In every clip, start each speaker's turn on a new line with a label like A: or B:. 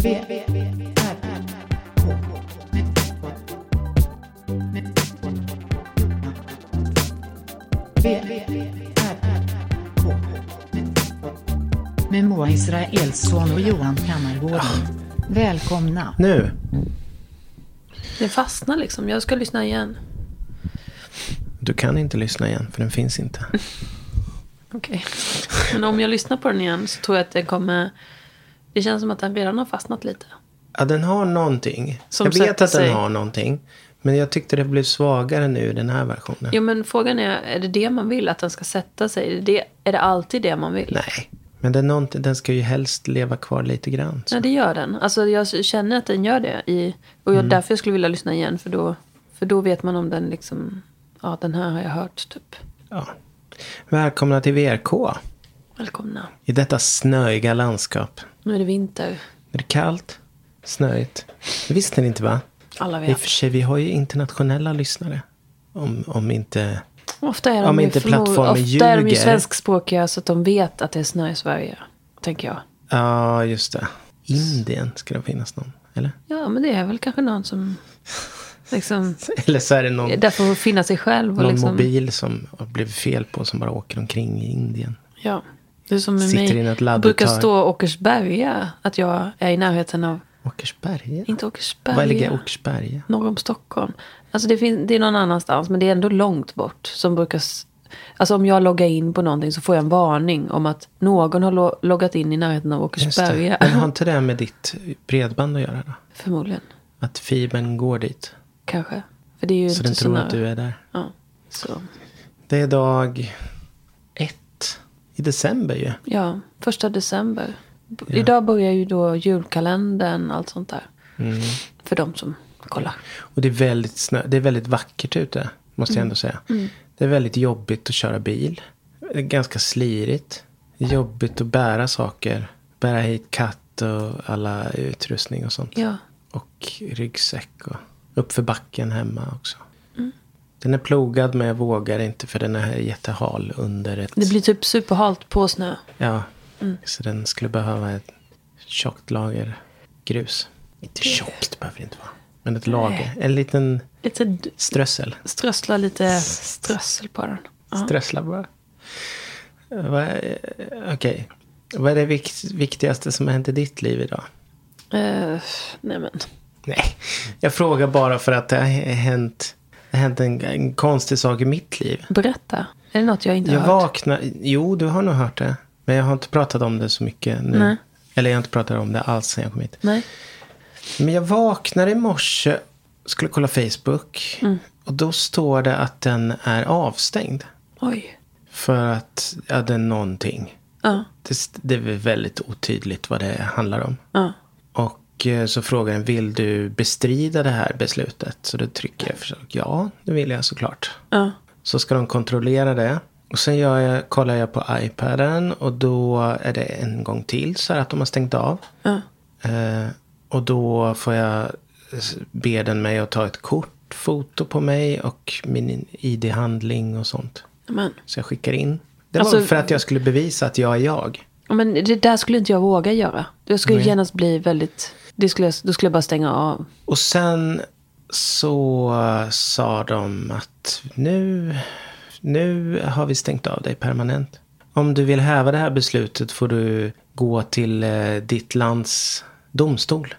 A: V, R, K. V, R, K. Med Moa Israelsson och Johan Kammargården. Välkomna.
B: Nu.
C: Det fastnar liksom. Jag ska lyssna igen.
B: Du kan inte lyssna igen för den finns inte.
C: Okej. Men om jag lyssnar på den igen så tror jag att den kommer... Det känns som att den redan har fastnat lite.
B: Ja, den har någonting.
C: Som
B: jag vet
C: sätter
B: att den
C: sig.
B: har någonting. Men jag tyckte det blev svagare nu i den här versionen.
C: Jo, men frågan är, är det det man vill? Att den ska sätta sig? Är det, det, är det alltid det man vill?
B: Nej. Men det är någonting, den ska ju helst leva kvar lite grann. Så.
C: Nej, det gör den. Alltså, jag känner att den gör det. I, och jag,
B: Mm.
C: därför jag skulle vilja lyssna igen. För då, för då vet man om den liksom... Ja, den här har jag hört, typ.
B: Ja. Välkomna till VRK.
C: Välkomna.
B: I detta snöiga landskap.
C: Nu är det vinter.
B: Är det kallt? Snöigt? Det visste ni inte va?
C: Alla
B: I och
C: vet.
B: för sig, vi har ju internationella lyssnare. Om, om inte...
C: Ofta är
B: Om
C: de, ju,
B: inte
C: förmo-
B: plattformen
C: ofta är de ju
B: ljuger.
C: svenskspråkiga så att de vet att det är snö i Sverige. Tänker jag.
B: Ja, just det. Indien ska det finnas någon, eller?
C: Ja, men det är väl kanske någon som... Liksom,
B: Eller så är det någon...
C: där får finna sig själv. Och
B: Någon
C: liksom,
B: mobil som har blivit fel på som bara åker omkring i Indien.
C: Ja, det är som med
B: Sitter
C: mig.
B: i något
C: Jag
B: ladd och
C: brukar
B: tar-
C: stå Åkersberga. Att jag är i närheten av...
B: Åkersberga?
C: Inte
B: Var ligger
C: Åkersberga.
B: Åkersberga?
C: Norr om Stockholm. Alltså det, finns, det är någon annanstans, men det är ändå långt bort. Som brukar, s- alltså om jag loggar in på någonting så får jag en varning om att någon har lo- loggat in i närheten av
B: Just det.
C: Åkersberga.
B: Men har inte det med ditt bredband att göra då?
C: Förmodligen.
B: Att fibern går dit?
C: Kanske. För det är ju
B: Så
C: inte
B: den
C: så
B: tror
C: nära.
B: att du är där.
C: Ja, så.
B: Det är dag ett i december ju.
C: ja, första december. B- Idag börjar ju då julkalendern allt sånt där.
B: Mm.
C: För de som kollar.
B: Och det är väldigt, snö, det är väldigt vackert ute. Måste
C: Mm.
B: jag ändå säga. Det är väldigt jobbigt att köra bil. Det är ganska slirigt. Det är Jobbigt att bära saker. Bära hit katt och alla utrustning och sånt.
C: Ja,
B: Och ryggsäck och uppför backen hemma också.
C: Mm.
B: Den är plogad men jag vågar inte för den är jättehal under ett...
C: det blir Mm. typ superhalt på snö.
B: Ja. Så den skulle behöva ett tjockt lager grus. Inte tjockt behöver det inte vara. Men ett lager. En liten
C: Lite d-
B: strössel.
C: strössla lite strössel på den. Ja.
B: Strössla bara. Eh, vad är- Okej. Vad är det vikt, viktigaste som har hänt i ditt liv idag?
C: Eh, nej men.
B: Nej, jag frågar bara för att det har hänt, det har hänt en, en konstig sak i mitt liv.
C: Berätta. Är det något jag inte
B: Jag
C: har hört?
B: vaknar... Jo, du har nog hört det. Men jag har inte pratat om det så mycket nu.
C: Nej.
B: Eller jag har inte pratat om det alls sen jag kom hit.
C: Nej.
B: Men jag vaknade i morse, skulle kolla Facebook.
C: Mm.
B: Och då står det att den är avstängd.
C: Oj.
B: För att, ja, det är någonting.
C: Ja.
B: Det, det är väl väldigt otydligt vad det handlar om.
C: Ja.
B: Och eh, så frågar den, vill du bestrida det här beslutet? Så då trycker jag försök, ja, det vill jag såklart.
C: Ja.
B: Så ska de kontrollera det. Och sen gör jag, kollar jag på iPaden och då är det en gång till så här att de har stängt av.
C: Ja.
B: Eh, och då får jag s- be den mig att ta ett kort, foto på mig och min ID-handling och sånt.
C: Men.
B: Så jag skickar in. Det
C: Alltså-
B: var för att jag skulle bevisa att jag är jag.
C: Ja, Men det där skulle inte jag våga göra. Jag skulle
B: Nej.
C: genast bli väldigt... Det skulle jag, då skulle jag bara stänga av.
B: Och sen så eh, sa de att nu, nu har vi stängt av dig permanent. Om du vill häva det här beslutet får du gå till eh, ditt lands domstol.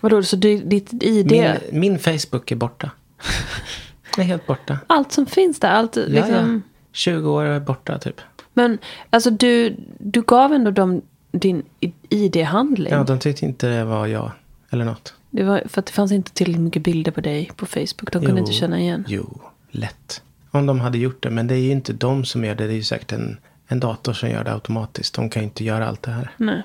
C: Vadå, så du, ditt ID?
B: Min, min Facebook är borta. Den är helt borta.
C: Allt som finns där? Allt, liksom.
B: Ja, ja. 20 år är borta typ.
C: Men alltså du, du gav ändå dem din i- ID-handling.
B: Ja, de tyckte inte det var jag. Eller något.
C: Det var för att det fanns inte tillräckligt mycket bilder på dig på Facebook. De kunde
B: Jo.
C: inte känna igen.
B: Jo, lätt. Om de hade gjort det. Men det är ju inte de som gör det. Det är ju säkert en, en dator som gör det automatiskt. De kan ju inte göra allt det här.
C: Nej.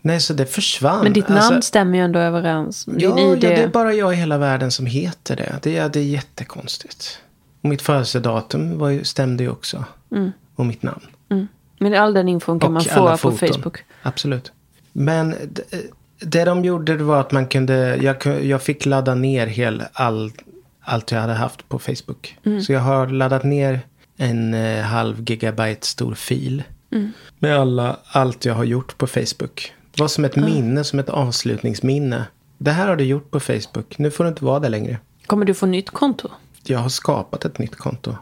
B: Nej, så det försvann.
C: Men ditt namn
B: Alltså,
C: stämmer ju ändå överens. Din
B: ja,
C: ID.
B: ja, det är bara jag i hela världen som heter det. Det, är- det är jättekonstigt. Och mitt födelsedatum var ju, stämde ju också.
C: Mm.
B: Och mitt namn.
C: Men all den infon kan
B: och
C: man
B: alla
C: få på
B: foton.
C: Facebook.
B: Absolut. Men d- det de gjorde det var att man kunde, jag, ku- jag fick ladda ner hel, all, allt jag hade haft på Facebook.
C: Mm.
B: Så jag har laddat ner en eh,
C: Mm.
B: halv gigabyte stor fil. Med alla, allt jag har gjort på Facebook. Det var som ett minne, som ett avslutningsminne. Det här har du gjort på Facebook. Nu får du inte vara där längre.
C: Kommer du få nytt konto?
B: Jag har skapat ett nytt konto.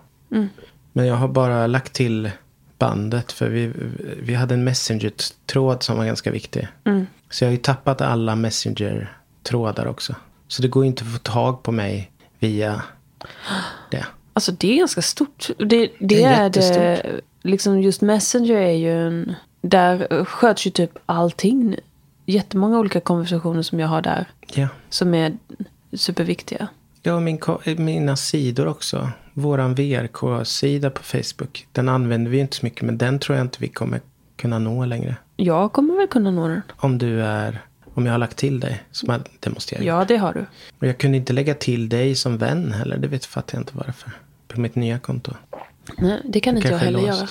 B: Men jag har bara lagt till bandet. För vi, vi hade en Messenger-tråd som var ganska viktig. Så jag har ju tappat alla Messenger-trådar också. Så det går ju inte att få tag på mig via det.
C: Alltså det är ganska stort. Det, det,
B: Det är
C: är, det.
B: jättestort.
C: Liksom just Messenger är ju en... Där sköts ju typ allting nu. Jättemånga olika konversationer som jag har där.
B: Ja.
C: Som är superviktiga.
B: Ja, och min, ko- mina sidor också. Våran VRK-sida på Facebook. Den använder vi ju inte så mycket, men den tror jag inte vi kommer kunna nå längre.
C: Jag kommer väl kunna nå den.
B: Om du är... Om jag har lagt till dig. Som jag, det måste jag ju.
C: Ja, det har du.
B: Men jag kunde inte lägga till dig som vän heller. Det vet fattar jag inte varför. På mitt nya konto.
C: Nej, det kan inte jag
B: Kanske är
C: heller
B: låst.
C: göra.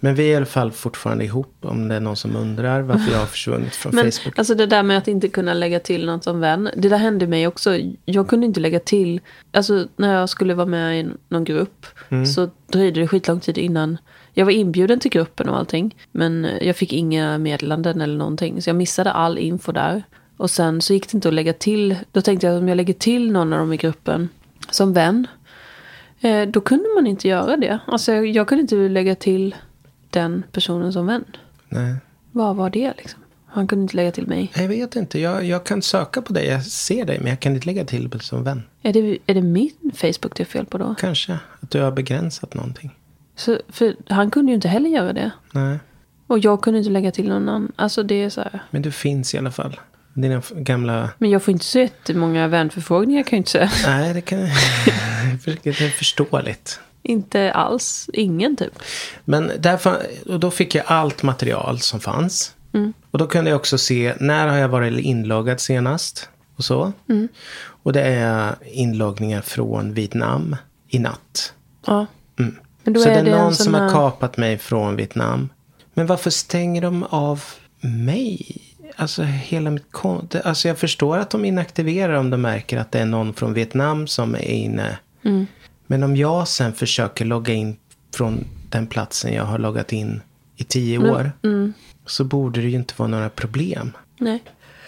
B: Men vi är i alla fall fortfarande ihop. Om det är någon som undrar varför jag har försvunnit från
C: Men
B: Facebook.
C: alltså det där med att inte kunna lägga till något som vän. Det där hände mig också. Jag kunde inte lägga till. Alltså när jag skulle vara med i någon grupp.
B: Mm.
C: Så dröjde det skitlång tid innan. Jag var inbjuden till gruppen och allting. Men jag fick inga meddelanden eller någonting. Så jag missade all info där. Och sen så gick det inte att lägga till. Då tänkte jag att om jag lägger till någon av dem i gruppen. Som vän. Eh, då kunde man inte göra det. Alltså jag, jag kunde inte lägga till den personen som vän.
B: Nej.
C: Vad var det liksom? Han kunde inte lägga till mig.
B: Jag vet inte. Jag, jag kan söka på dig. Jag ser dig. Men jag kan inte lägga till dig som vän.
C: Är det, är det min Facebook det är fel på då?
B: Kanske. Att du har begränsat någonting.
C: Så, för han kunde ju inte heller göra det.
B: Nej.
C: Och jag kunde inte lägga till någon annan. Alltså det är så här.
B: Men du finns i alla fall. Dina f- gamla...
C: Men jag får inte så jättemånga vänförfrågningar kan jag inte säga.
B: Nej, det, kan... det är förståeligt.
C: inte alls. Ingen typ.
B: Men därför, och då fick jag allt material som fanns. Och då kunde jag också se när har jag varit inloggad senast. Och så. Och det är inloggningar från Vietnam i natt.
C: Ja. Men då
B: Mm. så
C: är
B: det är
C: det en
B: någon
C: sån
B: som har
C: här-
B: kapat mig från Vietnam. Men varför stänger de av mig? Alltså hela mitt konto. Alltså jag förstår att de inaktiverar om de märker att det är någon från Vietnam som är inne.
C: Mm.
B: Men om jag sen försöker logga in från den platsen jag har loggat in i tio år.
C: mm.
B: Så borde det ju inte vara några problem.
C: Nej.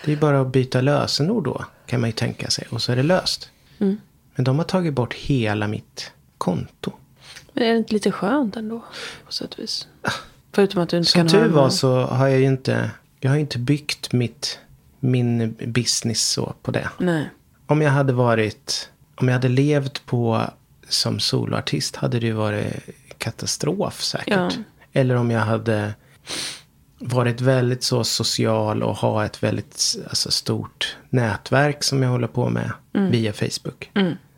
B: Det är ju bara att byta lösenord då. Kan man ju tänka sig. Och så är det löst.
C: Mm.
B: Men de har tagit bort hela mitt konto.
C: Men är det inte lite skönt ändå? På sätt och vis. Förutom att du inte
B: Ah. Som
C: kan
B: tur
C: ha...
B: var så har jag ju inte, jag har ju inte byggt mitt, min business så på det.
C: Nej.
B: Om jag hade varit, om jag hade levt på som soloartist hade det ju varit katastrof säkert.
C: Ja.
B: Eller om jag hade varit väldigt så social och ha ett väldigt alltså, stort nätverk som jag håller på med
C: Mm.
B: via Facebook.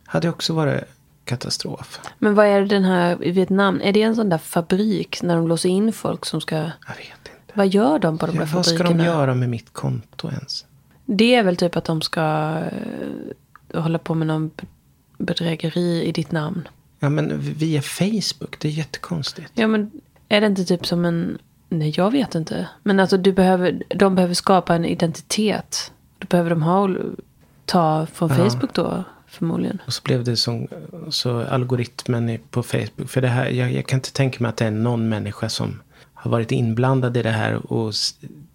B: Hade också varit katastrof.
C: Men vad är det den här i Vietnam? Är det en sån där fabrik när de låser in folk som ska...
B: Jag vet inte.
C: Vad gör de på de där
B: Ja, vad ska
C: fabrikerna?
B: de göra med mitt konto ens?
C: Det är väl typ att de ska eh, hålla på med någon be- bedrägeri i ditt namn.
B: Ja, men via Facebook. Det är jättekonstigt.
C: Ja men är det inte typ som en... Nej jag vet inte. Men alltså du behöver, de behöver skapa en identitet. Då behöver de ha, ta från Facebook då förmodligen.
B: Och så blev det som så algoritmen i- på Facebook. För det här, jag, jag kan inte tänka mig att det är någon människa som har varit inblandad i det här och s-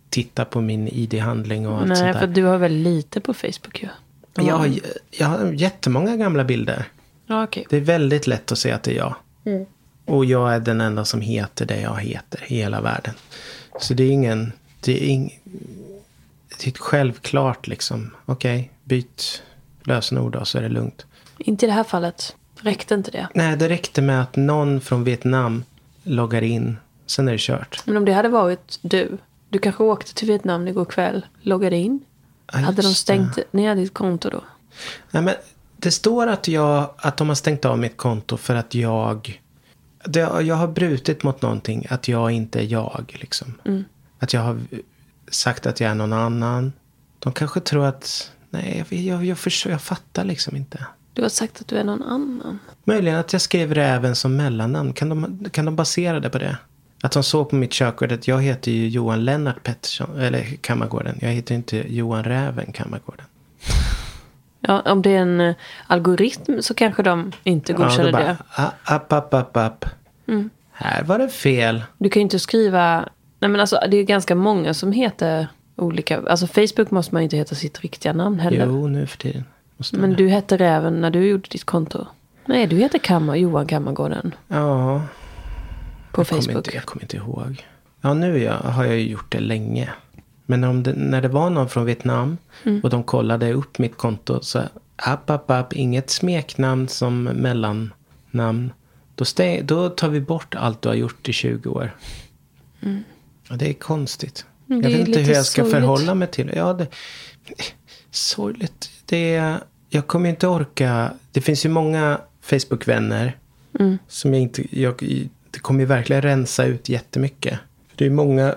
B: tittar på min ID-handling och allt
C: Nej
B: sånt där.
C: för du har väl lite på Facebook ju.
B: jag, har, j- jag har jättemånga gamla bilder.
C: Ja okej.
B: Det är väldigt lätt att säga att det är jag. Och jag är den enda som heter det jag heter i hela världen. Så det är ingen... Det är, ing, det är ett självklart liksom. Okej, byt lösenord då så är det lugnt.
C: Inte i det här fallet. Räckte inte det?
B: Nej, det räckte med att någon från Vietnam loggar in. Sen är det kört.
C: Men om det hade varit du. Du kanske åkte till Vietnam igår kväll. Loggade in.
B: Ja,
C: hade de
B: just
C: stängt ner ditt konto då?
B: Nej, men det står att, jag, att de har stängt av mitt konto för att jag... Det, jag har brutit mot någonting. Att jag inte är jag. Liksom. Att jag har sagt att jag är någon annan. De kanske tror att... Nej, jag, jag, jag, förstår, jag fattar liksom inte.
C: Du har sagt att du är någon annan.
B: Möjligen att jag skriver det även som mellannamn. Kan de, kan de basera det på det? Att de såg på mitt körkort att jag heter ju Johan Lennart Pettersson, eller Kammargården. Jag heter inte Johan Räven Kammargården.
C: Ja, om det är en eh, algoritm så kanske de inte
B: då
C: godkänner
B: bara,
C: det. Mm.
B: "Ah, App, app, app, app. Här var det fel.
C: Du kan ju inte skriva... Nej men alltså det är ganska många som heter olika... Alltså Facebook måste man inte heta sitt riktiga namn heller.
B: Jo, nu för tiden. Måste
C: Men
B: man-
C: du hette Räven när du gjorde ditt konto. Nej, du heter Kammar, Johan Kammargården
B: Ja,
C: på
B: jag kommer,
C: Facebook.
B: inte, jag kommer inte ihåg. Ja, nu är jag, har jag ju gjort det länge. Men om det, när det var någon från Vietnam
C: Mm.
B: och de kollade upp mitt konto så app, app, app, inget smeknamn som mellannamn. Då, stäng, då tar vi bort allt du har gjort i 20 år. Ja, det är konstigt.
C: Mm, det
B: jag
C: är
B: vet inte
C: lite
B: hur jag ska
C: sorgligt.
B: förhålla mig till det. Ja, det sorgligt. Det är, jag kommer ju inte orka. Det finns ju många Facebook-vänner.
C: Mm.
B: Som jag inte, jag, det kommer ju verkligen rensa ut jättemycket. För det är ju många,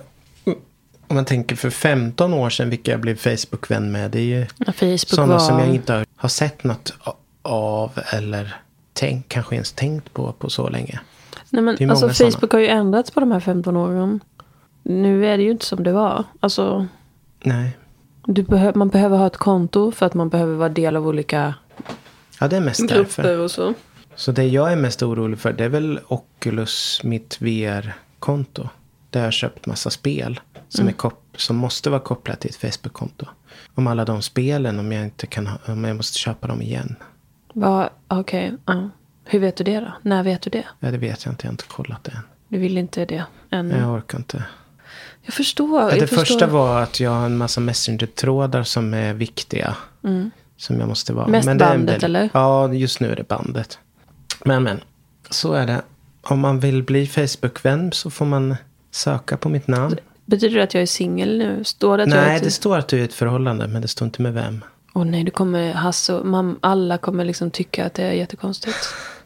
B: om man tänker för 15 år sedan vilka jag blev Facebook-vän med. Det är ju
C: När Facebook
B: sådana
C: var...
B: som jag inte har, har sett något a- av eller tänkt, kanske ens tänkt på på så länge.
C: Nej,
B: det är
C: men,
B: många
C: alltså,
B: såna.
C: Facebook har ju ändrats på de här 15 åren. Nu är det ju inte som det var. Alltså,
B: Nej.
C: du behö- man behöver ha ett konto för att man behöver vara del av olika
B: Ja, det är mest därför.
C: grupper och så.
B: Så det jag är mest orolig för det är väl Oculus, mitt VR-konto. Där jag har köpt massa spel som, är kop- som måste vara kopplat till ett Facebook-konto. Om alla de spelen, om jag inte kan ha, om jag måste köpa dem igen.
C: Va, Okej, ja. hur vet du det då? När vet du det?
B: Ja, det vet jag inte, jag har inte kollat det än.
C: Du vill inte det ännu.
B: Jag orkar inte.
C: Jag förstår.
B: Ja, det
C: jag förstår.
B: första var att jag har en massa messenger-trådar som är viktiga. Som jag måste vara.
C: Mm. Mest
B: det är en
C: bandet,
B: del-
C: eller?
B: Ja, just nu är det bandet. Men, men. Så är det. Om man vill bli Facebook-vän så får man söka på mitt namn.
C: Betyder det att jag är singel nu? Står det att jag är
B: Nej,
C: ett-
B: det står att du är i ett förhållande, men det står inte med vem.
C: Åh nej, du kommer Hasse och mamma, alla kommer liksom tycka att det är jättekonstigt.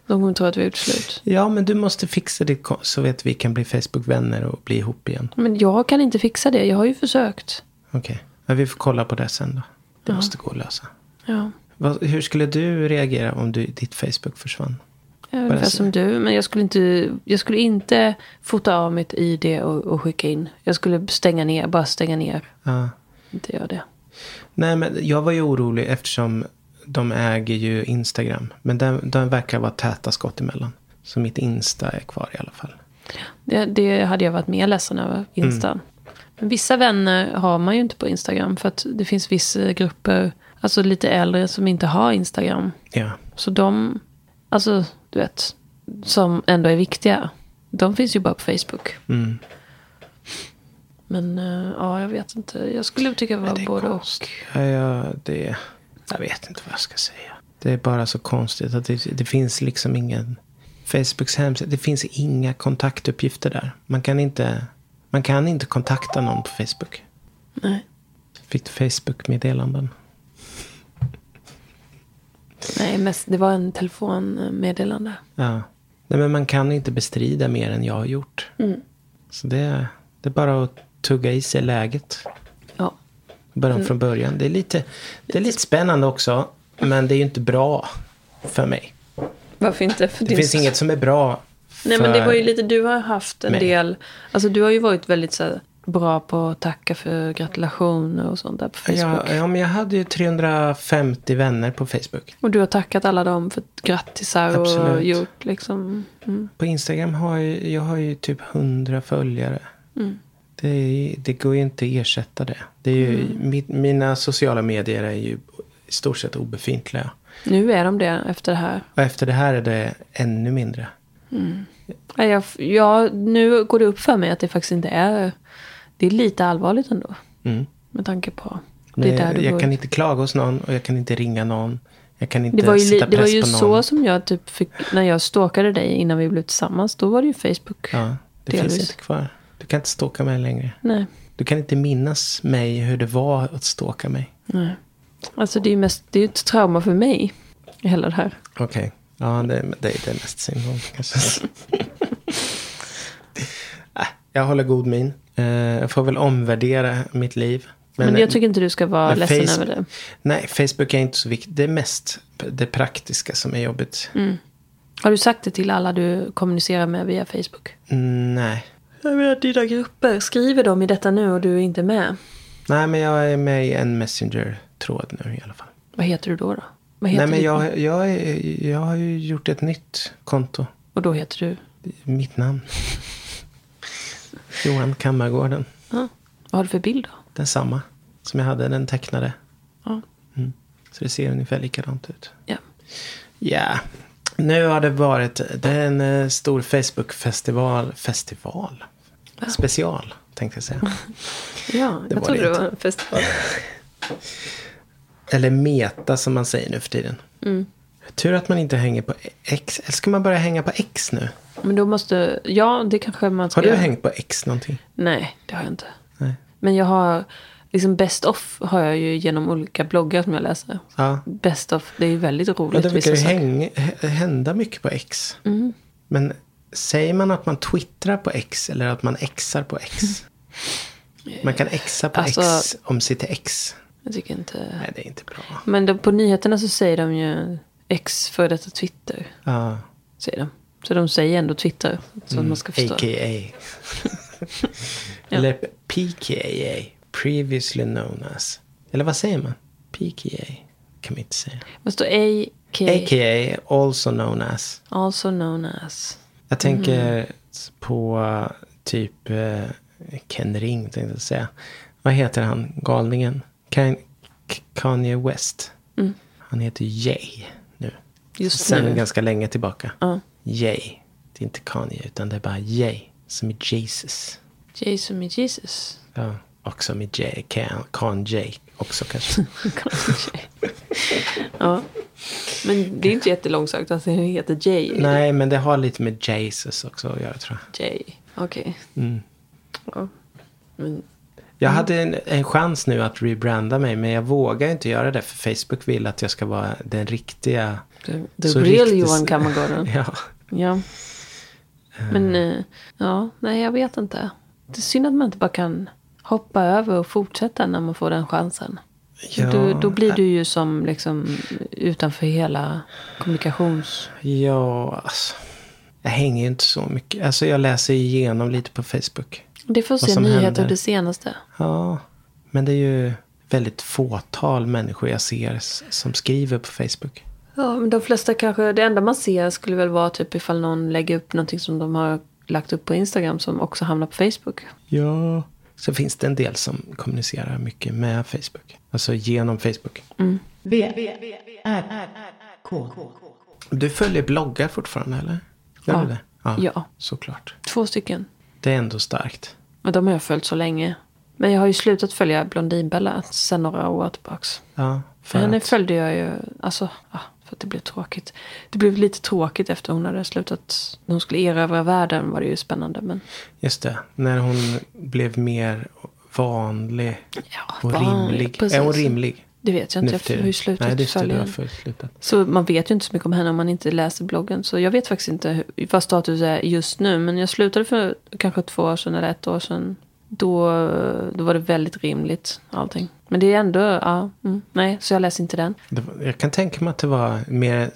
C: De kommer tro att vi har gjort slut.
B: Ja, men du måste fixa det ko- så att vi kan bli Facebook-vänner och bli ihop igen.
C: Men jag kan inte fixa det, jag har ju försökt.
B: Okej, men vi får kolla på det sen då. Det måste gå att lösa.
C: Ja,
B: Vad- hur skulle du reagera om du, ditt Facebook försvann?
C: ungefär som du. Men jag skulle inte, jag skulle inte fota av mitt ID och, och skicka in. Jag skulle stänga ner, bara stänga ner.
B: Ja.
C: Inte gör det.
B: Nej, men jag var ju orolig eftersom de äger ju Instagram. Men den, den verkar vara täta skott emellan. Så mitt Insta är kvar i alla fall.
C: det. Det hade jag varit mer ledsen över,
B: Mm.
C: Insta. Men vissa vänner har man ju inte på Instagram. För att det finns vissa grupper, alltså lite äldre, som inte har Instagram.
B: Ja,
C: Så de, alltså du vet, som ändå är viktiga, de finns ju bara på Facebook.
B: Mm.
C: Men eh, ja, jag vet inte. Jag skulle tycka det
B: Men
C: var
B: det är
C: både och.
B: konst. Ja, ja, det, jag vet inte vad jag ska säga. Det är bara så konstigt att det, det finns liksom ingen... Facebooks hemsida, det finns inga kontaktuppgifter där. Man kan inte, man kan inte kontakta någon på Facebook.
C: Nej.
B: Fick du Facebook-meddelanden?
C: Nej, mest, det var en telefonmeddelande.
B: Ja. Nej, men man kan inte bestrida mer än jag har gjort.
C: Mm.
B: Så det, det är bara att tugga i sig läget.
C: Ja.
B: Börja
C: Mm.
B: om från början. Det är, lite, det är lite spännande också. Men det är ju inte bra för mig.
C: Varför inte? För
B: Det finns inget som är bra för...
C: Nej, men det var ju lite, du har haft en
B: Nej.
C: del, alltså du har ju varit väldigt så här, bra på att tacka för gratulationer och sånt där på Facebook.
B: Ja, ja, men jag hade ju 350 vänner på Facebook.
C: Och du har tackat alla dem för grattisar och
B: Absolut.
C: gjort liksom. Mm.
B: På Instagram har jag, jag har ju typ 100 följare.
C: Mm.
B: Det, är- det går ju inte att ersätta det. det är ju,
C: Mm.
B: mitt, mina sociala medier är ju i stort sett obefintliga.
C: Nu är de det efter det här.
B: Och efter det här är det ännu mindre.
C: Nej, Jag, ja, nu går det upp för mig att det faktiskt inte är... Det är lite allvarligt ändå.
B: Mm.
C: Med tanke på... Det,
B: Men
C: är där
B: jag,
C: du
B: jag
C: går.
B: kan inte klaga hos någon och jag kan inte ringa någon. Jag kan inte
C: det var ju, li-
B: sätta
C: det var
B: press
C: ju
B: på någon.
C: så som jag typ fick... När jag stalkade dig innan vi blev tillsammans, då var det ju Facebook.
B: Ja, det
C: delvis.
B: finns inte kvar. Du kan inte stalka mig längre.
C: Nej,
B: Du kan inte minnas mig hur det var att stalka mig.
C: nej. Alltså det är ju mest... Det är ju ett trauma för mig. Hela det här.
B: Okej. Ja, det, det, det är mest synd om kanske. Äh, jag håller god min. Eh, jag får väl omvärdera mitt liv.
C: Men, jag tycker inte du ska vara
B: men
C: ledsen
B: Face-
C: över det.
B: Nej, Facebook är inte så viktigt. Det är mest det praktiska som är jobbigt.
C: Mm. Har du sagt det till alla du kommunicerar med via Facebook?
B: Mm, nej.
C: Jag menar, dina grupper. Skriver de i detta nu och du är inte med?
B: nej, men jag är med i en Messenger-tråd nu i alla fall.
C: Vad heter du då? då? Vad heter
B: Nej, men
C: ditt-
B: jag, jag, är- jag har ju gjort ett nytt konto.
C: Och då heter du?
B: Mitt namn. Johan Kammargården.
C: Ja. Vad har du för bild då?
B: densamma som jag hade, den tecknade.
C: Ja.
B: Mm. Så det ser ungefär likadant ut.
C: ja.
B: Ja, nu har det varit det är en eh, stor Facebook-festival. Festival? Special, tänkte jag säga.
C: ja
B: Det
C: jag
B: var
C: trodde
B: det
C: det var en festival.
B: Eller meta som man säger nu för tiden.
C: Mm.
B: Tur att man inte hänger på X. Eller ska man börja hänga på X nu?
C: Men då måste, ja det kanske man ska
B: Har du
C: göra.
B: hängt på X någonting?
C: Nej, det har jag inte.
B: Nej.
C: Men jag har, liksom best of har jag ju genom olika bloggar som jag läser.
B: Ja.
C: Best of, det är ju väldigt roligt.
B: Men det brukar ju
C: vissa saker. Mm.
B: häng, hä- hända mycket på X. Men säger man att man twittrar på X eller att man xar på X? Man kan xa på X
C: Alltså-
B: om sitt X.
C: Jag tycker inte.
B: Nej, det är inte bra.
C: Men de, på nyheterna så säger de ju ex före detta Twitter.
B: Ja.
C: Säger de. Så de säger ändå Twitter. Så att man ska
B: Mm,
C: förstå.
B: A.k.a. Eller P.k.a. Previously known as. Eller vad säger man? P.k.a. kan man inte säga.
C: Men står AK,
B: A.k.a. also known as.
C: also known as.
B: Jag tänker på eh, typ eh, Ken Ring tänkte jag säga. Vad heter han, galningen? Kan- K- Kanye West. Han heter Jay nu.
C: Just
B: Sen
C: nu.
B: ganska länge tillbaka.
C: Ja.
B: Jay. Det är inte Kanye utan det är bara Jay. Som är Jesus.
C: Jason med Jesus.
B: Ja. Och som är Jay, Kan- Kanye också kanske.
C: Kanske. ja. Men det är inte jättelångsökt att det heter Jay.
B: Nej men det har lite med Jesus också att göra tror jag.
C: Jay. Okej.
B: Mm.
C: Ja. Men
B: Jag
C: Mm.
B: hade en, en chans nu att rebranda mig men jag vågar inte göra det för Facebook vill att jag ska vara den riktiga.
C: du, du
B: så
C: real
B: riktigt-
C: Johan Kammargården.
B: Ja.
C: ja. Men eh, ja, nej jag vet inte. Det är synd att man inte bara kan hoppa över och fortsätta när man får den chansen.
B: Ja.
C: Du, då blir du ju som liksom utanför hela kommunikations...
B: Ja, alltså. Jag hänger ju inte så mycket. Alltså jag läser igenom lite på Facebook.
C: Det får se
B: som händer.
C: nyheter det senaste.
B: Ja, men det är ju väldigt fåtal människor jag ser s- som skriver på Facebook.
C: Ja, men de flesta kanske, det enda man ser skulle väl vara typ ifall någon lägger upp någonting som de har lagt upp på Instagram som också hamnar på Facebook.
B: Ja. Så finns det en del som kommunicerar mycket med Facebook. Alltså genom Facebook.
A: V, V, R, K.
B: Du följer bloggar fortfarande eller? Gör
C: Ja.
B: du det?
C: Ja.
B: Såklart.
C: Två stycken.
B: Det är ändå starkt.
C: Men de har jag följt så länge. Men jag har ju slutat följa Blondinbella sen några år tillbaks.
B: Ja,
C: För henne
B: att-
C: följde jag ju, alltså, ja, för att det blev tråkigt. Det blev lite tråkigt efter hon hade slutat, när hon skulle erövra världen var det ju spännande. Men
B: Just det. När hon blev mer vanlig
C: Ja,
B: och
C: vanlig,
B: rimlig.
C: precis.
B: Är hon rimlig?
C: det vet jag
B: nu
C: inte,
B: för
C: jag
B: tiden?
C: har ju slutat
B: Nej, just det.
C: följa
B: Du har
C: henne.
B: för- slutat.
C: Så man vet ju inte så mycket om henne om man inte läser bloggen. Så jag vet faktiskt inte hur, vad status är just nu. Men jag slutade för kanske två år sedan eller ett år sedan. Då, då var det väldigt rimligt allting. Men det är ändå, ja, mm, nej, så jag läser inte den.
B: Det var, jag kan tänka mig att det var mer,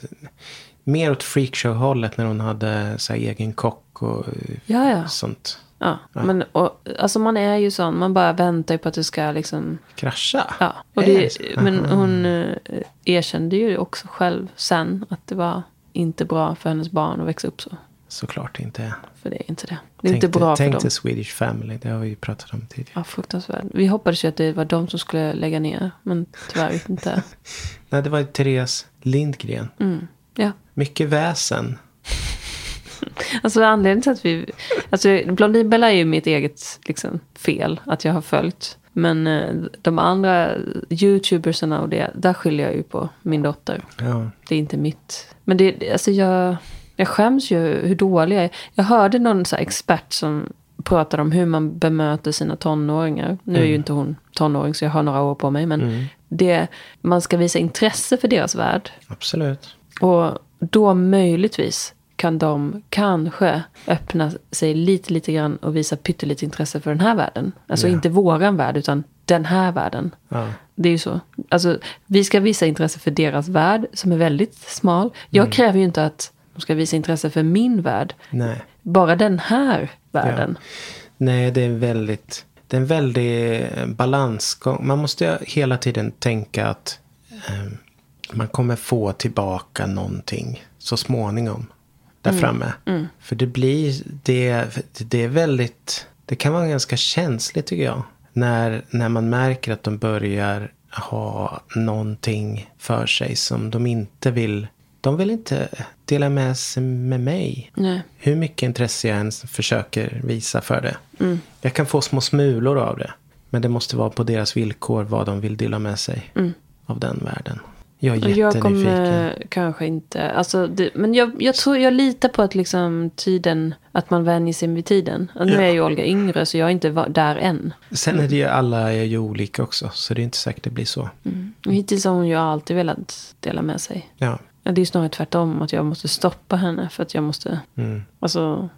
B: mer åt freakshow-hållet när hon hade så här, egen kock och
C: Ja, ja.
B: sånt.
C: ja. Men och, alltså man är ju sån, man bara väntar ju på att det ska liksom,
B: Krascha?
C: ja. Och
B: Är det
C: det,
B: så?
C: men
B: Aha.
C: hon eh, erkände ju också själv sen att det var inte bra för hennes barn att växa upp så.
B: Såklart inte.
C: För det är inte det. Det är inte bra för
B: tänk
C: dem.
B: till Swedish Family, det har vi ju pratat om tidigare.
C: Ja, fruktansvärt. Vi hoppades ju att det var de som skulle lägga ner, men tyvärr vet inte.
B: Nej, det var ju Therese Lindgren.
C: Mm. Ja.
B: Mycket väsen.
C: Alltså anledningen till att vi... Alltså Blondinbella är ju mitt eget liksom, fel, att jag har följt. Men eh, de andra youtubersarna och det, där skiljer jag ju på min dotter.
B: Ja.
C: Det är inte mitt. Men det, alltså jag, jag skäms ju hur dålig jag är. Jag hörde någon så här expert som pratade om hur man bemöter sina tonåringar. Nu är ju inte hon tonåring så jag har några år på mig. Men det, man ska visa intresse för deras värld.
B: Absolut.
C: Och då möjligtvis kan de kanske öppna sig lite, lite grann och visa pyttelite intresse för den här världen. Alltså
B: Ja.
C: inte våran värld, utan den här världen.
B: Ja.
C: Det är ju så. Alltså, vi ska visa intresse för deras värld, som är väldigt smal. Jag kräver ju inte att de ska visa intresse för min värld.
B: Mm. Nej.
C: Bara den här världen.
B: Nej, det är väldigt... Det är en väldig eh, balansgång. Man måste ju hela tiden tänka att eh, man kommer få tillbaka någonting så småningom. Där framme. För det blir... Det, det är väldigt... Det kan vara ganska känsligt tycker jag. när, när man märker att de börjar ha någonting för sig som de inte vill. De vill inte dela med sig med mig.
C: Nej.
B: Hur mycket intresse jag än försöker visa för det.
C: Mm.
B: Jag kan få små smulor av det. Men det måste vara på deras villkor vad de vill dela med sig av den världen. Jag är
C: Mm. Och Jag
B: jättenyfiken.
C: kommer kanske inte... Alltså det, men jag, jag, tror, jag litar på att liksom tiden, att man vänjer sig vid tiden. Och Nu är ju Olga yngre så jag är inte va- där än.
B: Sen är det ju alla är ju olika också. Så det är inte säkert det blir så.
C: Och Hittills har hon ju alltid velat dela med sig.
B: Ja.
C: Ja, det är ju snarare tvärtom, att jag måste stoppa henne för att jag måste...
B: Mm.
C: Alltså,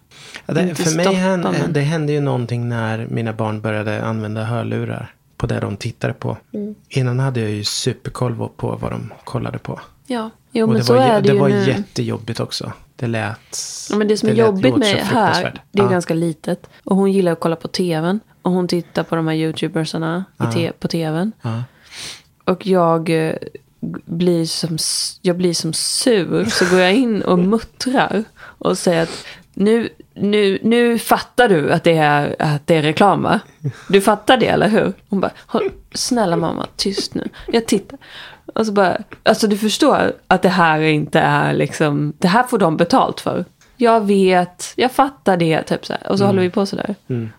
B: Ja, det,
C: Inte
B: för mig
C: stoppa,
B: hände,
C: men-
B: det hände ju någonting när mina barn började använda hörlurar på det de tittade på.
C: Mm.
B: Innan hade jag ju superkoll på vad de kollade på.
C: ja. Jo,
B: Och
C: men
B: det
C: så
B: var,
C: är det,
B: det
C: ju
B: var
C: nu.
B: jättejobbigt också. Det lät...
C: Ja, men det som är
B: lät-
C: jobbigt
B: låter
C: med
B: så
C: här,
B: fruktansvärt.
C: det är
B: ja.
C: ganska litet. Och hon gillar att kolla på tvn. Och hon tittar på de här youtubersarna i te- på tvn.
B: Ja.
C: Och jag eh, g- blir som, s- jag blir som sur. Så går jag in och muttrar. Och säger att nu, nu, nu fattar du att det, är, att det är reklam va? Du fattar det eller hur? Hon bara, "Håll- snälla mamma tyst nu. Jag tittar. Och så bara, alltså du förstår att det här inte är liksom, det här får de betalt för. Jag vet, jag fattar det. Typ så här. Och så håller vi
B: Mm.
C: på sådär.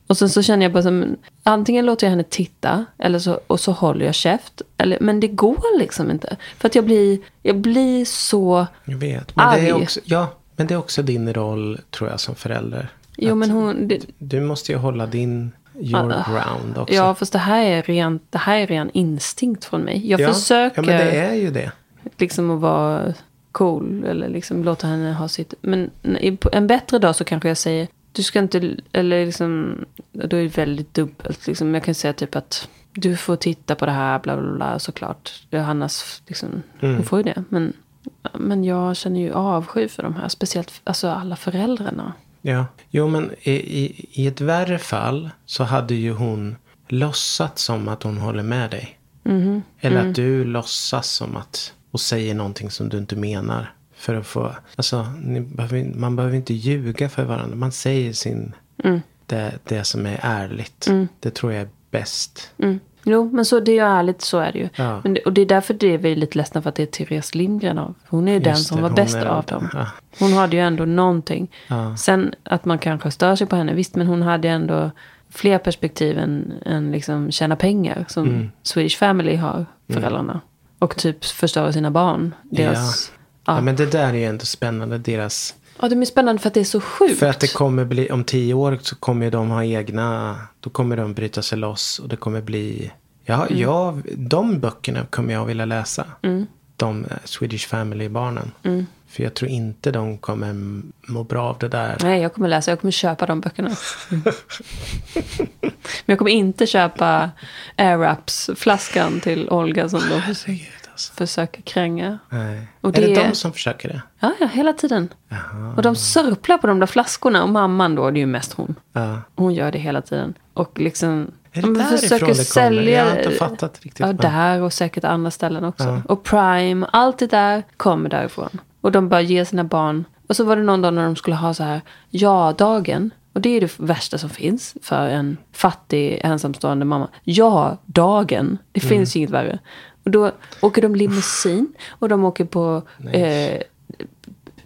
C: Och sen så känner jag bara som, antingen låter jag henne titta eller så, och så håller jag käft. Eller, men det går liksom inte. För att jag blir, jag blir så...
B: Jag vet. Men det, är
C: Arg.
B: också, ja, men det är också din roll, tror jag, som förälder.
C: Jo
B: Att
C: men hon... Det, ah,
B: Du måste ju hålla din your ground också.
C: ja fast det här är ren, det här är ren instinkt från mig. Jag försöker
B: Ja, men det är ju det.
C: liksom att vara cool eller liksom låta henne ha sitt. Men i- på en bättre dag så kanske jag säger du ska inte, eller liksom, då är det väldigt dubbelt liksom. Jag kan säga typ att du får titta på det här, bla bla bla, såklart. Det är Hannas, liksom,
B: Mm.
C: hon får ju det. Men, men jag känner ju avsky för de här, speciellt alltså alla föräldrarna.
B: Ja. Jo, men i, i, i ett värre fall så hade ju hon låtsats som att hon håller med dig.
C: Mm-hmm.
B: Eller
C: Mm.
B: att du låtsas som att och säger någonting som du inte menar. För att få, alltså, ni behöver, man behöver inte ljuga för varandra. Man säger sin,
C: Mm.
B: det, det som är ärligt. Det tror jag är bäst.
C: Mm. Jo, men så det är ju ärligt, så är det ju.
B: Ja.
C: Men det, och det är därför det är vi lite ledsna för att det är Therese Lindgren av. Hon är ju den
B: Just
C: som
B: det,
C: var
B: hon
C: bäst
B: är-
C: av dem.
B: ja.
C: Hon hade ju ändå någonting.
B: Ja.
C: Sen att man kanske stör sig på henne, visst, men hon hade ju ändå fler perspektiv än, än liksom tjäna pengar som
B: Mm.
C: Swedish Family har, föräldrarna. Och typ förstöra sina barn. Deras... Ja.
B: Ja. men det där är ju ändå spännande. Deras,
C: Ja, det är spännande för att det är så sjukt.
B: för att det kommer bli, om tio år så kommer ju de ha egna, då kommer de bryta sig loss och det kommer bli, ja,
C: Mm.
B: ja de böckerna kommer jag vilja läsa. De eh, Swedish Family-barnen.
C: Mm.
B: För jag tror inte de kommer m- må bra av det där.
C: Nej, jag kommer läsa. Jag kommer köpa de böckerna. Men jag kommer inte köpa Airwraps-flaskan till Olga som de förs-
B: Herregud alltså.
C: försöker kränga.
B: Nej.
C: Och
B: Är
C: det-
B: det de som försöker det?
C: Ja, ja, hela tiden. Och de sörplar på de där flaskorna. Och mamman då, det är ju mest hon.
B: Ja.
C: Hon gör det hela tiden. Och liksom...
B: Är det
C: de
B: därifrån det kommer? Jag har inte fattat riktigt,
C: Ja,
B: men-
C: där och säkert andra ställen också. Och Prime, allt det där kommer därifrån. Och de bara ger sina barn. Och så var det någon dag när de skulle ha så här ja-dagen. Och det är det värsta som finns för en fattig ensamstående mamma. Ja-dagen. Det
B: Mm.
C: finns ju inget värre. Och då åker de limousin och de åker på eh,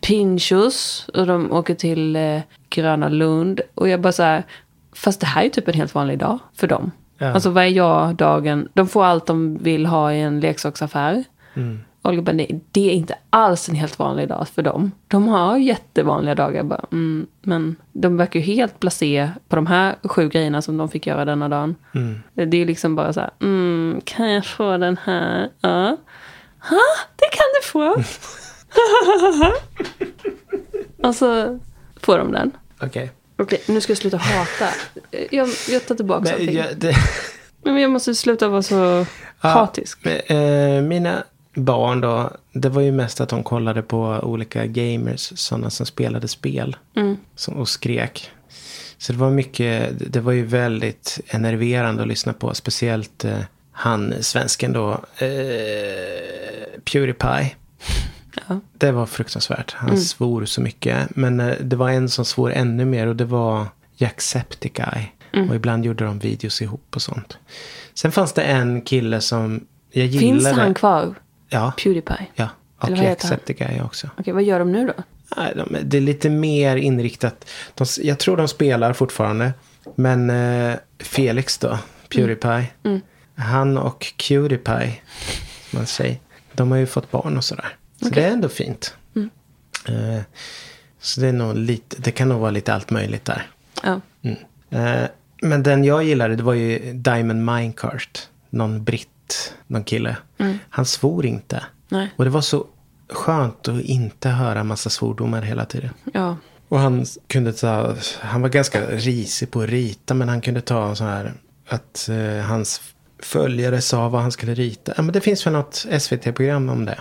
C: Pinchos och de åker till eh, Gröna Lund. Och jag bara så här, fast det här är ju typ en helt vanlig dag för dem.
B: Ja.
C: Alltså vad är jag-dagen? De får allt de vill ha i en leksaksaffär. Olga bara, nej, det är inte alls en helt vanlig dag för dem. De har jättevanliga dagar bara. Mm, men de verkar ju helt blasé på de här sju grejerna som de fick göra denna dagen. Det är liksom bara så här, mm, kan jag få den här? Ja. Ha, det kan du få. Och så Alltså, får de den.
B: Okej.
C: Okej, nu ska jag sluta hata. Jag, jag tar tillbaka
B: Men
C: någonting.
B: jag- Ah, det-
C: Nej, Men jag måste sluta vara så
B: Ja,
C: hatisk.
B: men, eh, mina barn då, det var ju mest att de kollade på olika gamers, sådana som spelade spel. Som, och skrek. Så det var mycket, det var ju väldigt enerverande att lyssna på. Speciellt eh, han, svensken då, eh, Pewdiepie. Det var fruktansvärt. Han
C: Mm.
B: svor så mycket. Men eh, det var en som svor ännu mer och det var Jacksepticeye.
C: Mm.
B: Och ibland gjorde de videos ihop och sånt. Sen fanns det en kille som jag gillade.
C: Finns han kvar?
B: Ja.
C: Pewdiepie?
B: ja. Och
C: Eller vad heter han?
B: Jacksepticeye är jag också.
C: Okej, vad gör de nu då?
B: Nej, de, det är lite mer inriktat. De, jag tror de spelar fortfarande. Men eh, Felix då, Pewdiepie. Han och Cudiepie, som man säger. De har ju fått barn och sådär. Så det är ändå fint. Eh, så det, är nog lite, det kan nog vara lite allt möjligt där.
C: Ja.
B: Mm. Eh, men den jag gillade det var ju Diamond Minecart. Någon britt, någon kille. Han svor inte.
C: Mm. Nej.
B: Och det var så skönt att inte höra massa svordomar hela tiden.
C: Ja.
B: Och han kunde ta, han var ganska risig på att rita men han kunde ta så här att eh, hans följare sa vad han skulle rita. Ja, men det finns väl något SVT-program om det.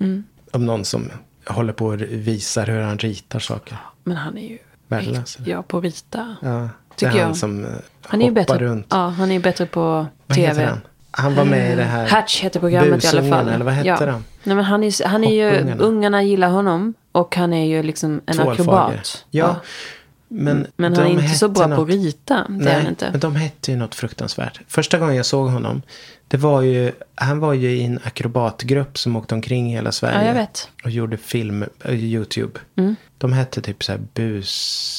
C: Mm.
B: Om någon som håller på och visar hur han ritar saker.
C: Men han är ju...
B: Värdelös, eller?
C: Ja, på rita.
B: Ja, det
C: Tycker
B: är han
C: jag.
B: som eh,
C: Han är ju
B: hoppar
C: bättre,
B: runt.
C: Ja, han är ju bättre på
B: Vad
C: tv.
B: heter han? Han var med i det här
C: Hatch heter programmet i alla
B: Busungen,
C: fall.
B: eller vad hette
C: ja.
B: den?
C: Nej, men han är, han är ju,
B: Hoppungarna.
C: ungarna gillar honom och han är ju liksom en
B: Tvålfager.
C: akrobat. Mm.
B: Ja, men,
C: Men han är
B: de
C: inte så
B: hette
C: bra på
B: något-
C: att rita. Det är han inte.
B: men de hette ju något fruktansvärt. Första gången jag såg honom, det var ju, han var ju i en akrobatgrupp som åkte omkring i hela Sverige.
C: Ja, jag vet. Mm.
B: Och gjorde film, eh, YouTube. De hette typ så här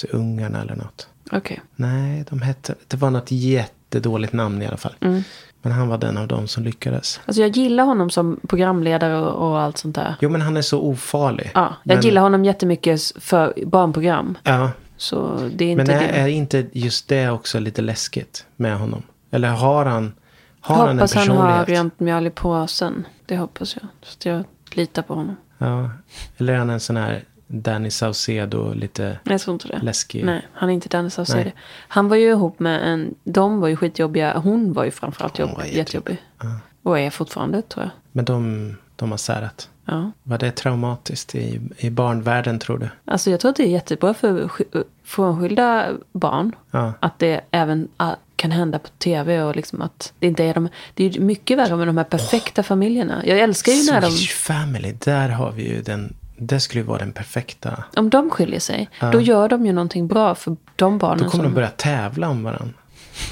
B: Busungarna eller något.
C: Okej.
B: Nej, de hette, det var något jättedåligt namn i alla fall.
C: Mm.
B: Men han var den av dem som lyckades.
C: Alltså jag gillar honom som programledare och, och allt sånt där.
B: Jo, men han är så ofarlig.
C: Ja, jag
B: men,
C: gillar honom jättemycket s- för barnprogram.
B: Ja,
C: Så det är inte
B: Men är,
C: det.
B: är inte just det också lite läskigt med honom? Eller har han, har han en
C: hoppas han
B: personlighet?
C: har rent mjöl i påsen. Det hoppas jag. Så att jag litar på honom.
B: Ja. Eller är han en sån här Danny Saucedo, lite
C: Nej, Jag tror inte det.
B: läskig?
C: Nej, han är inte Danny Saucedo.
B: Nej.
C: Han var ju ihop med en... De var ju skitjobbiga. Hon var ju framförallt jobb,
B: var jättejobbig.
C: jättejobbig. Och är fortfarande, tror jag.
B: Men de, de har särat.
C: Ja.
B: Var det traumatiskt i, i barnvärlden tror du?
C: Alltså jag tror att det är jättebra för sk- frånskilda barn.
B: Ja.
C: Att det även ah, kan hända på tv och liksom att det inte är de... Det är ju mycket värre med de här perfekta familjerna. Jag älskar ju när de...
B: Swedish Family, där har vi ju den. Det skulle ju vara den perfekta.
C: Om de skiljer sig, då gör de ju någonting bra för de barnen.
B: Då kommer
C: som,
B: de börja tävla om varandra.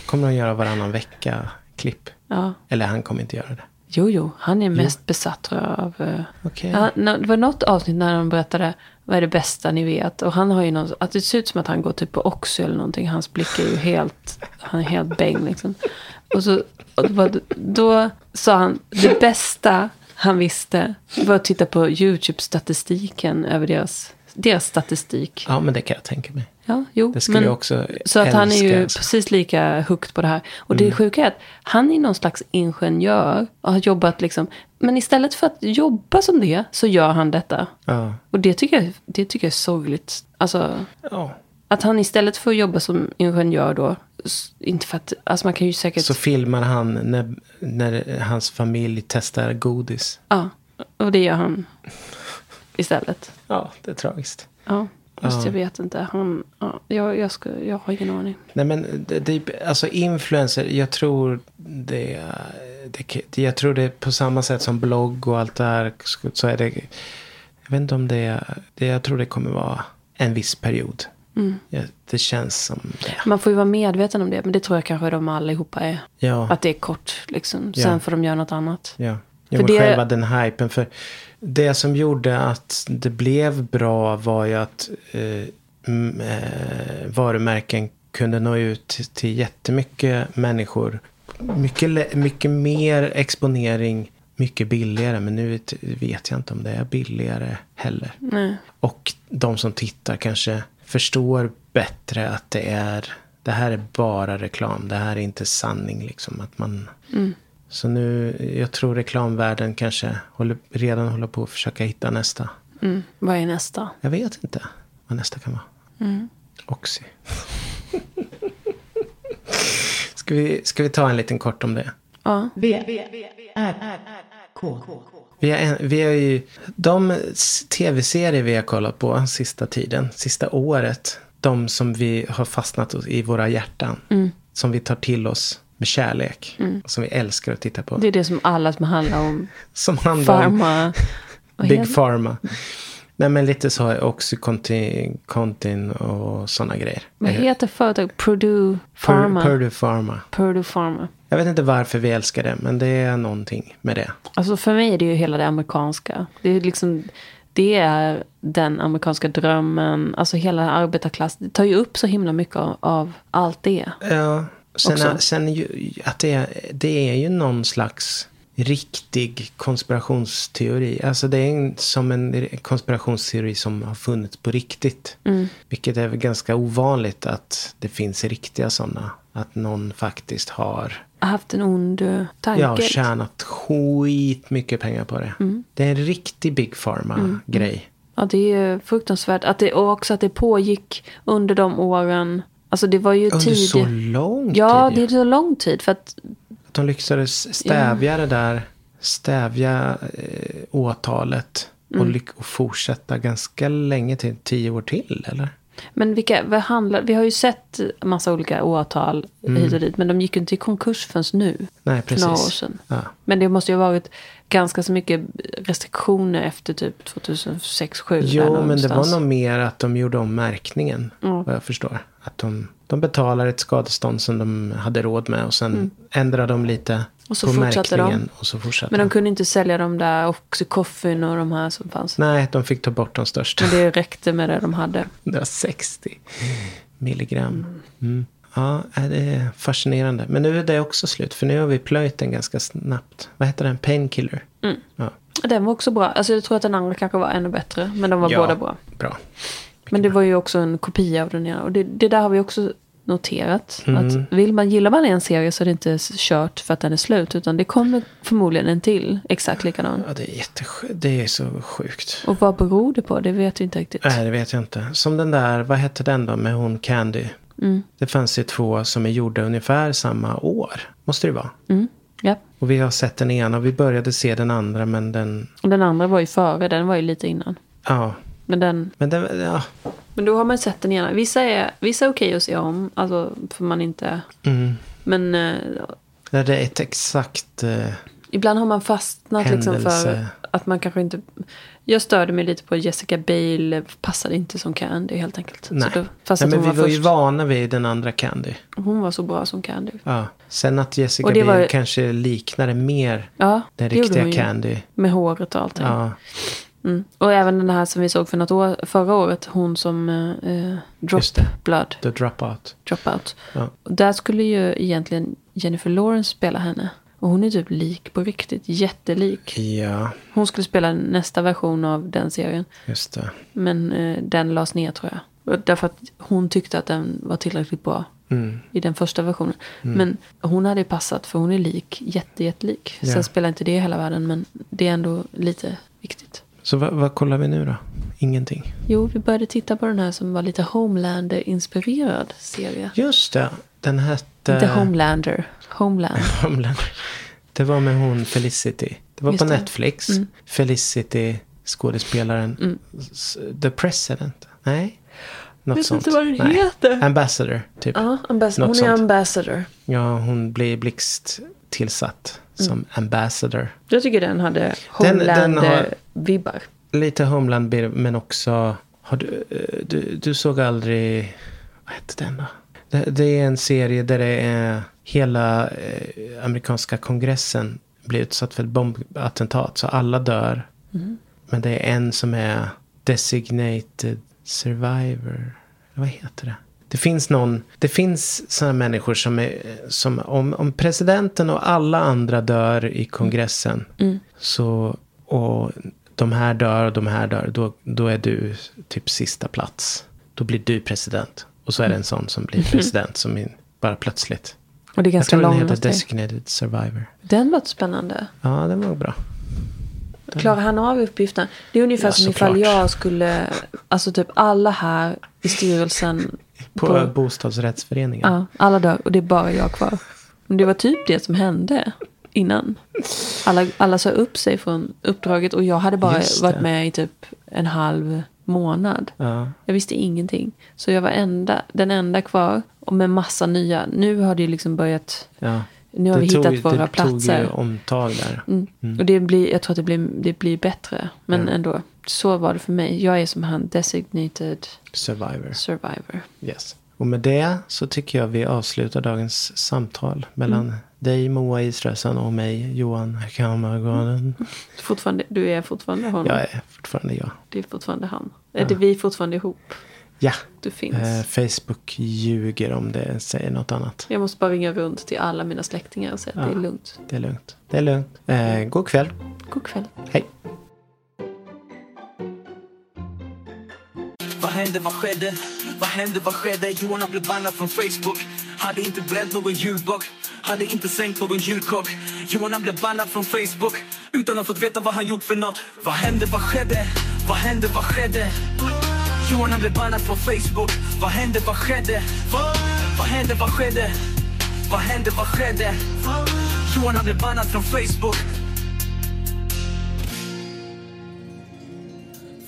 B: Kommer de göra varannan vecka-klipp?
C: Ja.
B: Eller han kommer inte göra det.
C: Jo, jo, han är mest besatt tror jag, av... eh,
B: Okej.
C: ja, nå- det var något avsnitt när han berättade vad är det bästa ni vet. Och han har ju någon, att det ser ut som att han går typ på Oxy eller någonting. Hans blick är ju helt, han är helt bäng liksom. Och så, och det var, då sa han, det bästa han visste var att titta på YouTube-statistiken över deras, deras statistik.
B: Ja, men det kan jag tänka mig.
C: Ja, jo.
B: Det skulle jag också
C: Så att han är ju
B: älska. Mm.
C: precis lika hooked på det här. Och det sjuka är att han är någon slags ingenjör och har jobbat liksom. Men istället för att jobba som det så gör han detta.
B: Ja.
C: Och det tycker jag, det tycker jag är sorgligt. Alltså,
B: ja.
C: att han istället för att jobba som ingenjör då, s- inte för att, alltså man kan ju säkert,
B: Så filmar han när, när hans familj testar godis.
C: ja. Och det gör han istället.
B: Ja, det är tragiskt.
C: Ja, just jag vet inte. Han, ja, jag, jag, ska, jag har ingen aning.
B: Nej men, det, det, alltså influencer, jag tror det, det, jag tror det på samma sätt som blogg och allt det här. Så är det, jag vet inte om det, det jag tror det kommer vara en viss period. Ja, det känns som det.
C: Man får ju vara medveten om det, men det tror jag kanske de allihopa är.
B: Ja.
C: Att det är kort, liksom.
B: Ja.
C: Sen får de göra något annat.
B: Ja. Jo,
C: För
B: men
C: det-
B: Själva den hypen. För det som gjorde att det blev bra var ju att eh, m- eh, varumärken kunde nå ut till, till jättemycket människor. Mycket, lä- mycket mer exponering, mycket billigare. Men nu vet- vet jag inte om det är billigare heller.
C: Nej.
B: Och de som tittar kanske förstår bättre att det är det här är bara reklam. Det här är inte sanning liksom. Att man... Så nu, jag tror reklamvärlden kanske håller, redan håller på att försöka hitta nästa.
C: Mm. Vad är nästa?
B: Jag vet inte vad nästa kan vara. Oxy. ska, vi, ska vi ta en liten kort om det?
C: Ja.
A: V, R, K,
B: Vi har, en, vi har ju, de s- tv-serier vi har kollat på sista tiden, sista året, de som vi har fastnat hos- i våra hjärtan,
C: Mm.
B: som vi tar till oss med kärlek, som vi älskar att titta på.
C: Det är det som alla som handlar om
B: som handlar om
C: Pharma. Vad
B: Big
C: heter-
B: Pharma. Nej, men lite så Oxycontin Contin och sådana grejer. Eh,
C: Vad heter företaget? Purdue Pharma.
B: Pur- Purdue Pharma.
C: Purdue Pharma.
B: Jag vet inte varför vi älskar det, men det är någonting med det.
C: Alltså för mig är det ju hela det amerikanska. Det är liksom, det är den amerikanska drömmen, alltså hela arbetarklass. Det tar ju upp så himla mycket av, av allt det.
B: Ja, sen,
C: Också.
B: sen ju, att det, är- det är ju någon slags riktig konspirationsteori. Alltså det är en, som en konspirationsteori som har funnits på riktigt.
C: Mm.
B: Vilket är väl ganska ovanligt att det finns riktiga sådana. Att någon faktiskt har
C: Jag har haft en ond eh, tanke.
B: Jag har tjänat skitmycket mycket pengar på det.
C: Mm.
B: Det är en riktig Big Pharma-grej.
C: Ja, det är ju fruktansvärt. Att det, och också att det pågick under de åren. Alltså det var ju
B: Under
C: tid.
B: så lång
C: Ja,
B: tid.
C: det
B: ju.
C: är så lång tid. För att
B: Att de lyckades stävja det där, stävja eh, åtalet
C: Mm.
B: och, lyck- och fortsätta ganska länge till, tio år till eller?
C: Men vilka, vad handlar, vi har ju sett massa olika åtal hit och dit, men de gick ju inte i konkurs förrän nu.
B: Mm. Nej,
C: För några
B: precis.
C: år sedan.
B: Ja.
C: Men det måste ju ha varit ganska så mycket restriktioner efter typ 2006, 2007.
B: Jo, men det var nog mer att de gjorde om märkningen, vad jag förstår. Att de, de betalar ett skadestånd som de hade råd med och sen ändrar de lite
C: Mm. Och så
B: på
C: fortsatte de.
B: märkningen. Och så fortsatte
C: Men de kunde inte sälja de där Oxycoffin och de här som fanns.
B: Nej, de fick ta bort de största.
C: Men det räckte med det de hade.
B: 160 milligram. Mm. Ja, äh, det är fascinerande. Men nu är det också slut, för nu har vi plöjt den ganska snabbt. Vad heter den? Painkiller?
C: Mm.
B: Ja,
C: Den var också bra. Alltså jag tror att den andra kanske var ännu bättre. Men de var
B: Ja.
C: båda bra.
B: bra.
C: Men det var ju också en kopia av den ena. Och det, det där har vi också noterat. Att vill man, gillar man en serie så är det inte s- kört för att den är slut. Utan det kommer förmodligen en till exakt likadan.
B: Ja, det är jättesj- Det är så sjukt.
C: Och vad beror det på? Det vet vi inte riktigt.
B: Nej, det vet jag inte. Som den där, vad hette den då med hon Candy?
C: Mm.
B: Det fanns ju två som är gjorda ungefär samma år. Måste det vara.
C: Mm. Ja.
B: Och vi har sett den ena och vi började se den andra men den...
C: Och den andra var ju före, den var ju lite innan.
B: Ja,
C: Men, den,
B: men den... Ja.
C: men då har man sett den ena. Vissa är, vissa är okej att se om, alltså för man inte...
B: Mm.
C: Men eh,
B: Det är ett exakt... eh,
C: Ibland har man fastnat liksom för
B: Händelse.
C: att man kanske inte... Jag störde mig lite på Jessica Biel passade inte som Candy helt enkelt.
B: Nej.
C: Så då, fast
B: Nej,
C: att
B: men
C: hon
B: vi
C: var,
B: var, ju
C: Alltså först.
B: vana vid den andra Candy.
C: Hon var så bra som Candy.
B: Ja. Sen att Jessica
C: Och det
B: Biel
C: var-
B: kanske liknade mer
C: Ja,
B: den
C: det gjorde
B: riktiga
C: hon ju.
B: Candy.
C: Med håret och allting.
B: Ja.
C: Mm. Och även den här som vi såg för något år, förra året. Hon som eh, eh, Drop
B: Just det.
C: Blood,
B: The Dropout.
C: Dropout.
B: Ja.
C: Och Där skulle ju egentligen Jennifer Lawrence spela henne. Och hon är typ lik på riktigt. Jättelik.
B: ja,
C: Hon skulle spela nästa version av den serien.
B: just det.
C: Men eh, den lades ner tror jag. Och Därför att hon tyckte att den var tillräckligt bra
B: Mm.
C: i den första versionen. Men hon hade ju passat för hon är lik, jätte, jättelik.
B: Ja.
C: Sen spelar inte det hela världen men det är ändå lite viktigt.
B: Så vad, vad kollar vi nu då? Ingenting.
C: Jo, vi började titta på den här som var lite Homelander-inspirerad serie.
B: Just det, den hette...
C: Inte Homelander, Homeland.
B: Homeland. Det var med hon Felicity. Det var
C: Just
B: på
C: det. Mm.
B: Netflix. Felicity, skådespelaren. S- The President. Nej, något
C: Vet
B: sånt.
C: inte vad den
B: Nej.
C: heter.
B: Ambassador, typ.
C: Ja, ambas-
B: Något
C: hon är
B: sånt.
C: ambassador.
B: Ja, hon blir blixt tillsatt som ambassador.
C: Jag tycker den hade
B: Den- den har-
C: Homelander-vibbar.
B: Lite Homeland Bill, men också... Har du, eh, du, du såg aldrig... Vad hette den då? Det, det är en serie där det är hela eh, amerikanska kongressen blir utsatt för ett bombattentat. Så alla dör. Men det är en som är designated survivor. Vad heter det? Det finns någon, det finns sådana människor som är, som om, om presidenten och alla andra dör i kongressen. Så, och de här dör och de här dör. Då, då är du typ sista plats. Då blir du president. Och så är det en sån som blir president som är bara plötsligt.
C: Och det är
B: Jag
C: ganska
B: tror den
C: långt.
B: heter Designated Survivor.
C: Den var spännande.
B: Ja, den var bra.
C: Klarar han av uppgiften? Det är ungefär
B: Mm. Ja,
C: som ifall
B: såklart.
C: jag skulle, alltså typ alla här i styrelsen,
B: På,
C: På-
B: bostadsrättsföreningen.
C: ja, alla dör och det är bara jag kvar. Men det var typ det som hände innan. Alla, alla sa upp sig från uppdraget och jag hade bara
B: Just det.
C: varit med i typ en halv månad.
B: Ja.
C: Jag visste ingenting. Så jag var enda, den enda kvar och med massa nya. Nu har det ju liksom börjat,
B: Ja.
C: nu har vi
B: tog-
C: hittat våra
B: Det tog ju
C: platser.
B: omtag där.
C: Mm. Och det blir, jag tror att det blir, det blir bättre. Men ändå, så var det för mig. Jag är som han, designated
B: Survivor.
C: survivor.
B: Yes. Och med det så tycker jag vi avslutar dagens samtal mellan
C: Mm.
B: dig Moa Israelsson och mig Johan
C: Mm.
B: Kammargården.
C: Fortfarande, du är fortfarande honom.
B: Jag är fortfarande jag.
C: Det är fortfarande han. Är det vi är fortfarande ihop?
B: Ja.
C: Du finns.
B: Eh, Facebook ljuger om det säger något annat.
C: Jag måste bara ringa runt till alla mina släktingar och säga att det är lugnt.
B: Det är lugnt. Det är lugnt. Eh, god kväll.
C: God kväll.
B: Hej.
D: Vad hände, vad skedde? Vad hände, vad skedde? Johan han blev bannad från Facebook. Hade inte bränt någon julbock. Hade inte sänkt någon julkock. Johan han blev bannad från Facebook. Utan att fått veta vad han gjort för något. Vad hände, vad skedde? Vad hände, vad skedde? Johan han blev bannad från Facebook. Vad hände, vad skedde? Vad hände, vad skedde? Vad hände, vad skedde? Johan han blev bannad från Facebook.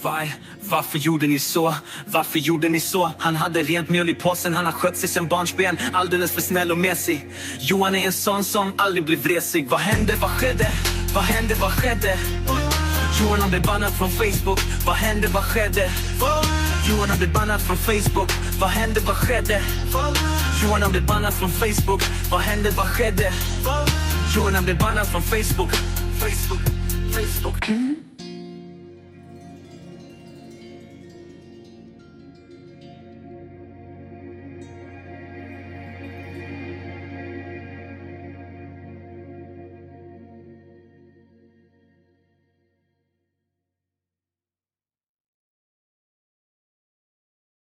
D: Why? Varför gjorde ni så? Varför gjorde ni så? Han hade rent mjöl i påsen, han har skött sig sen barnsben Alldeles för snäll och mesig Johan är en sån som aldrig blir vresig Vad hände? Vad skedde? Vad hände? Vad skedde? Johan han blev bannad från Facebook Vad hände? Vad skedde? Johan han blev bannad från Facebook Vad hände? Vad skedde? Johan han blev bannad från Facebook Vad hände? Vad skedde? Johan han blev bannad från Facebook Facebook, Facebook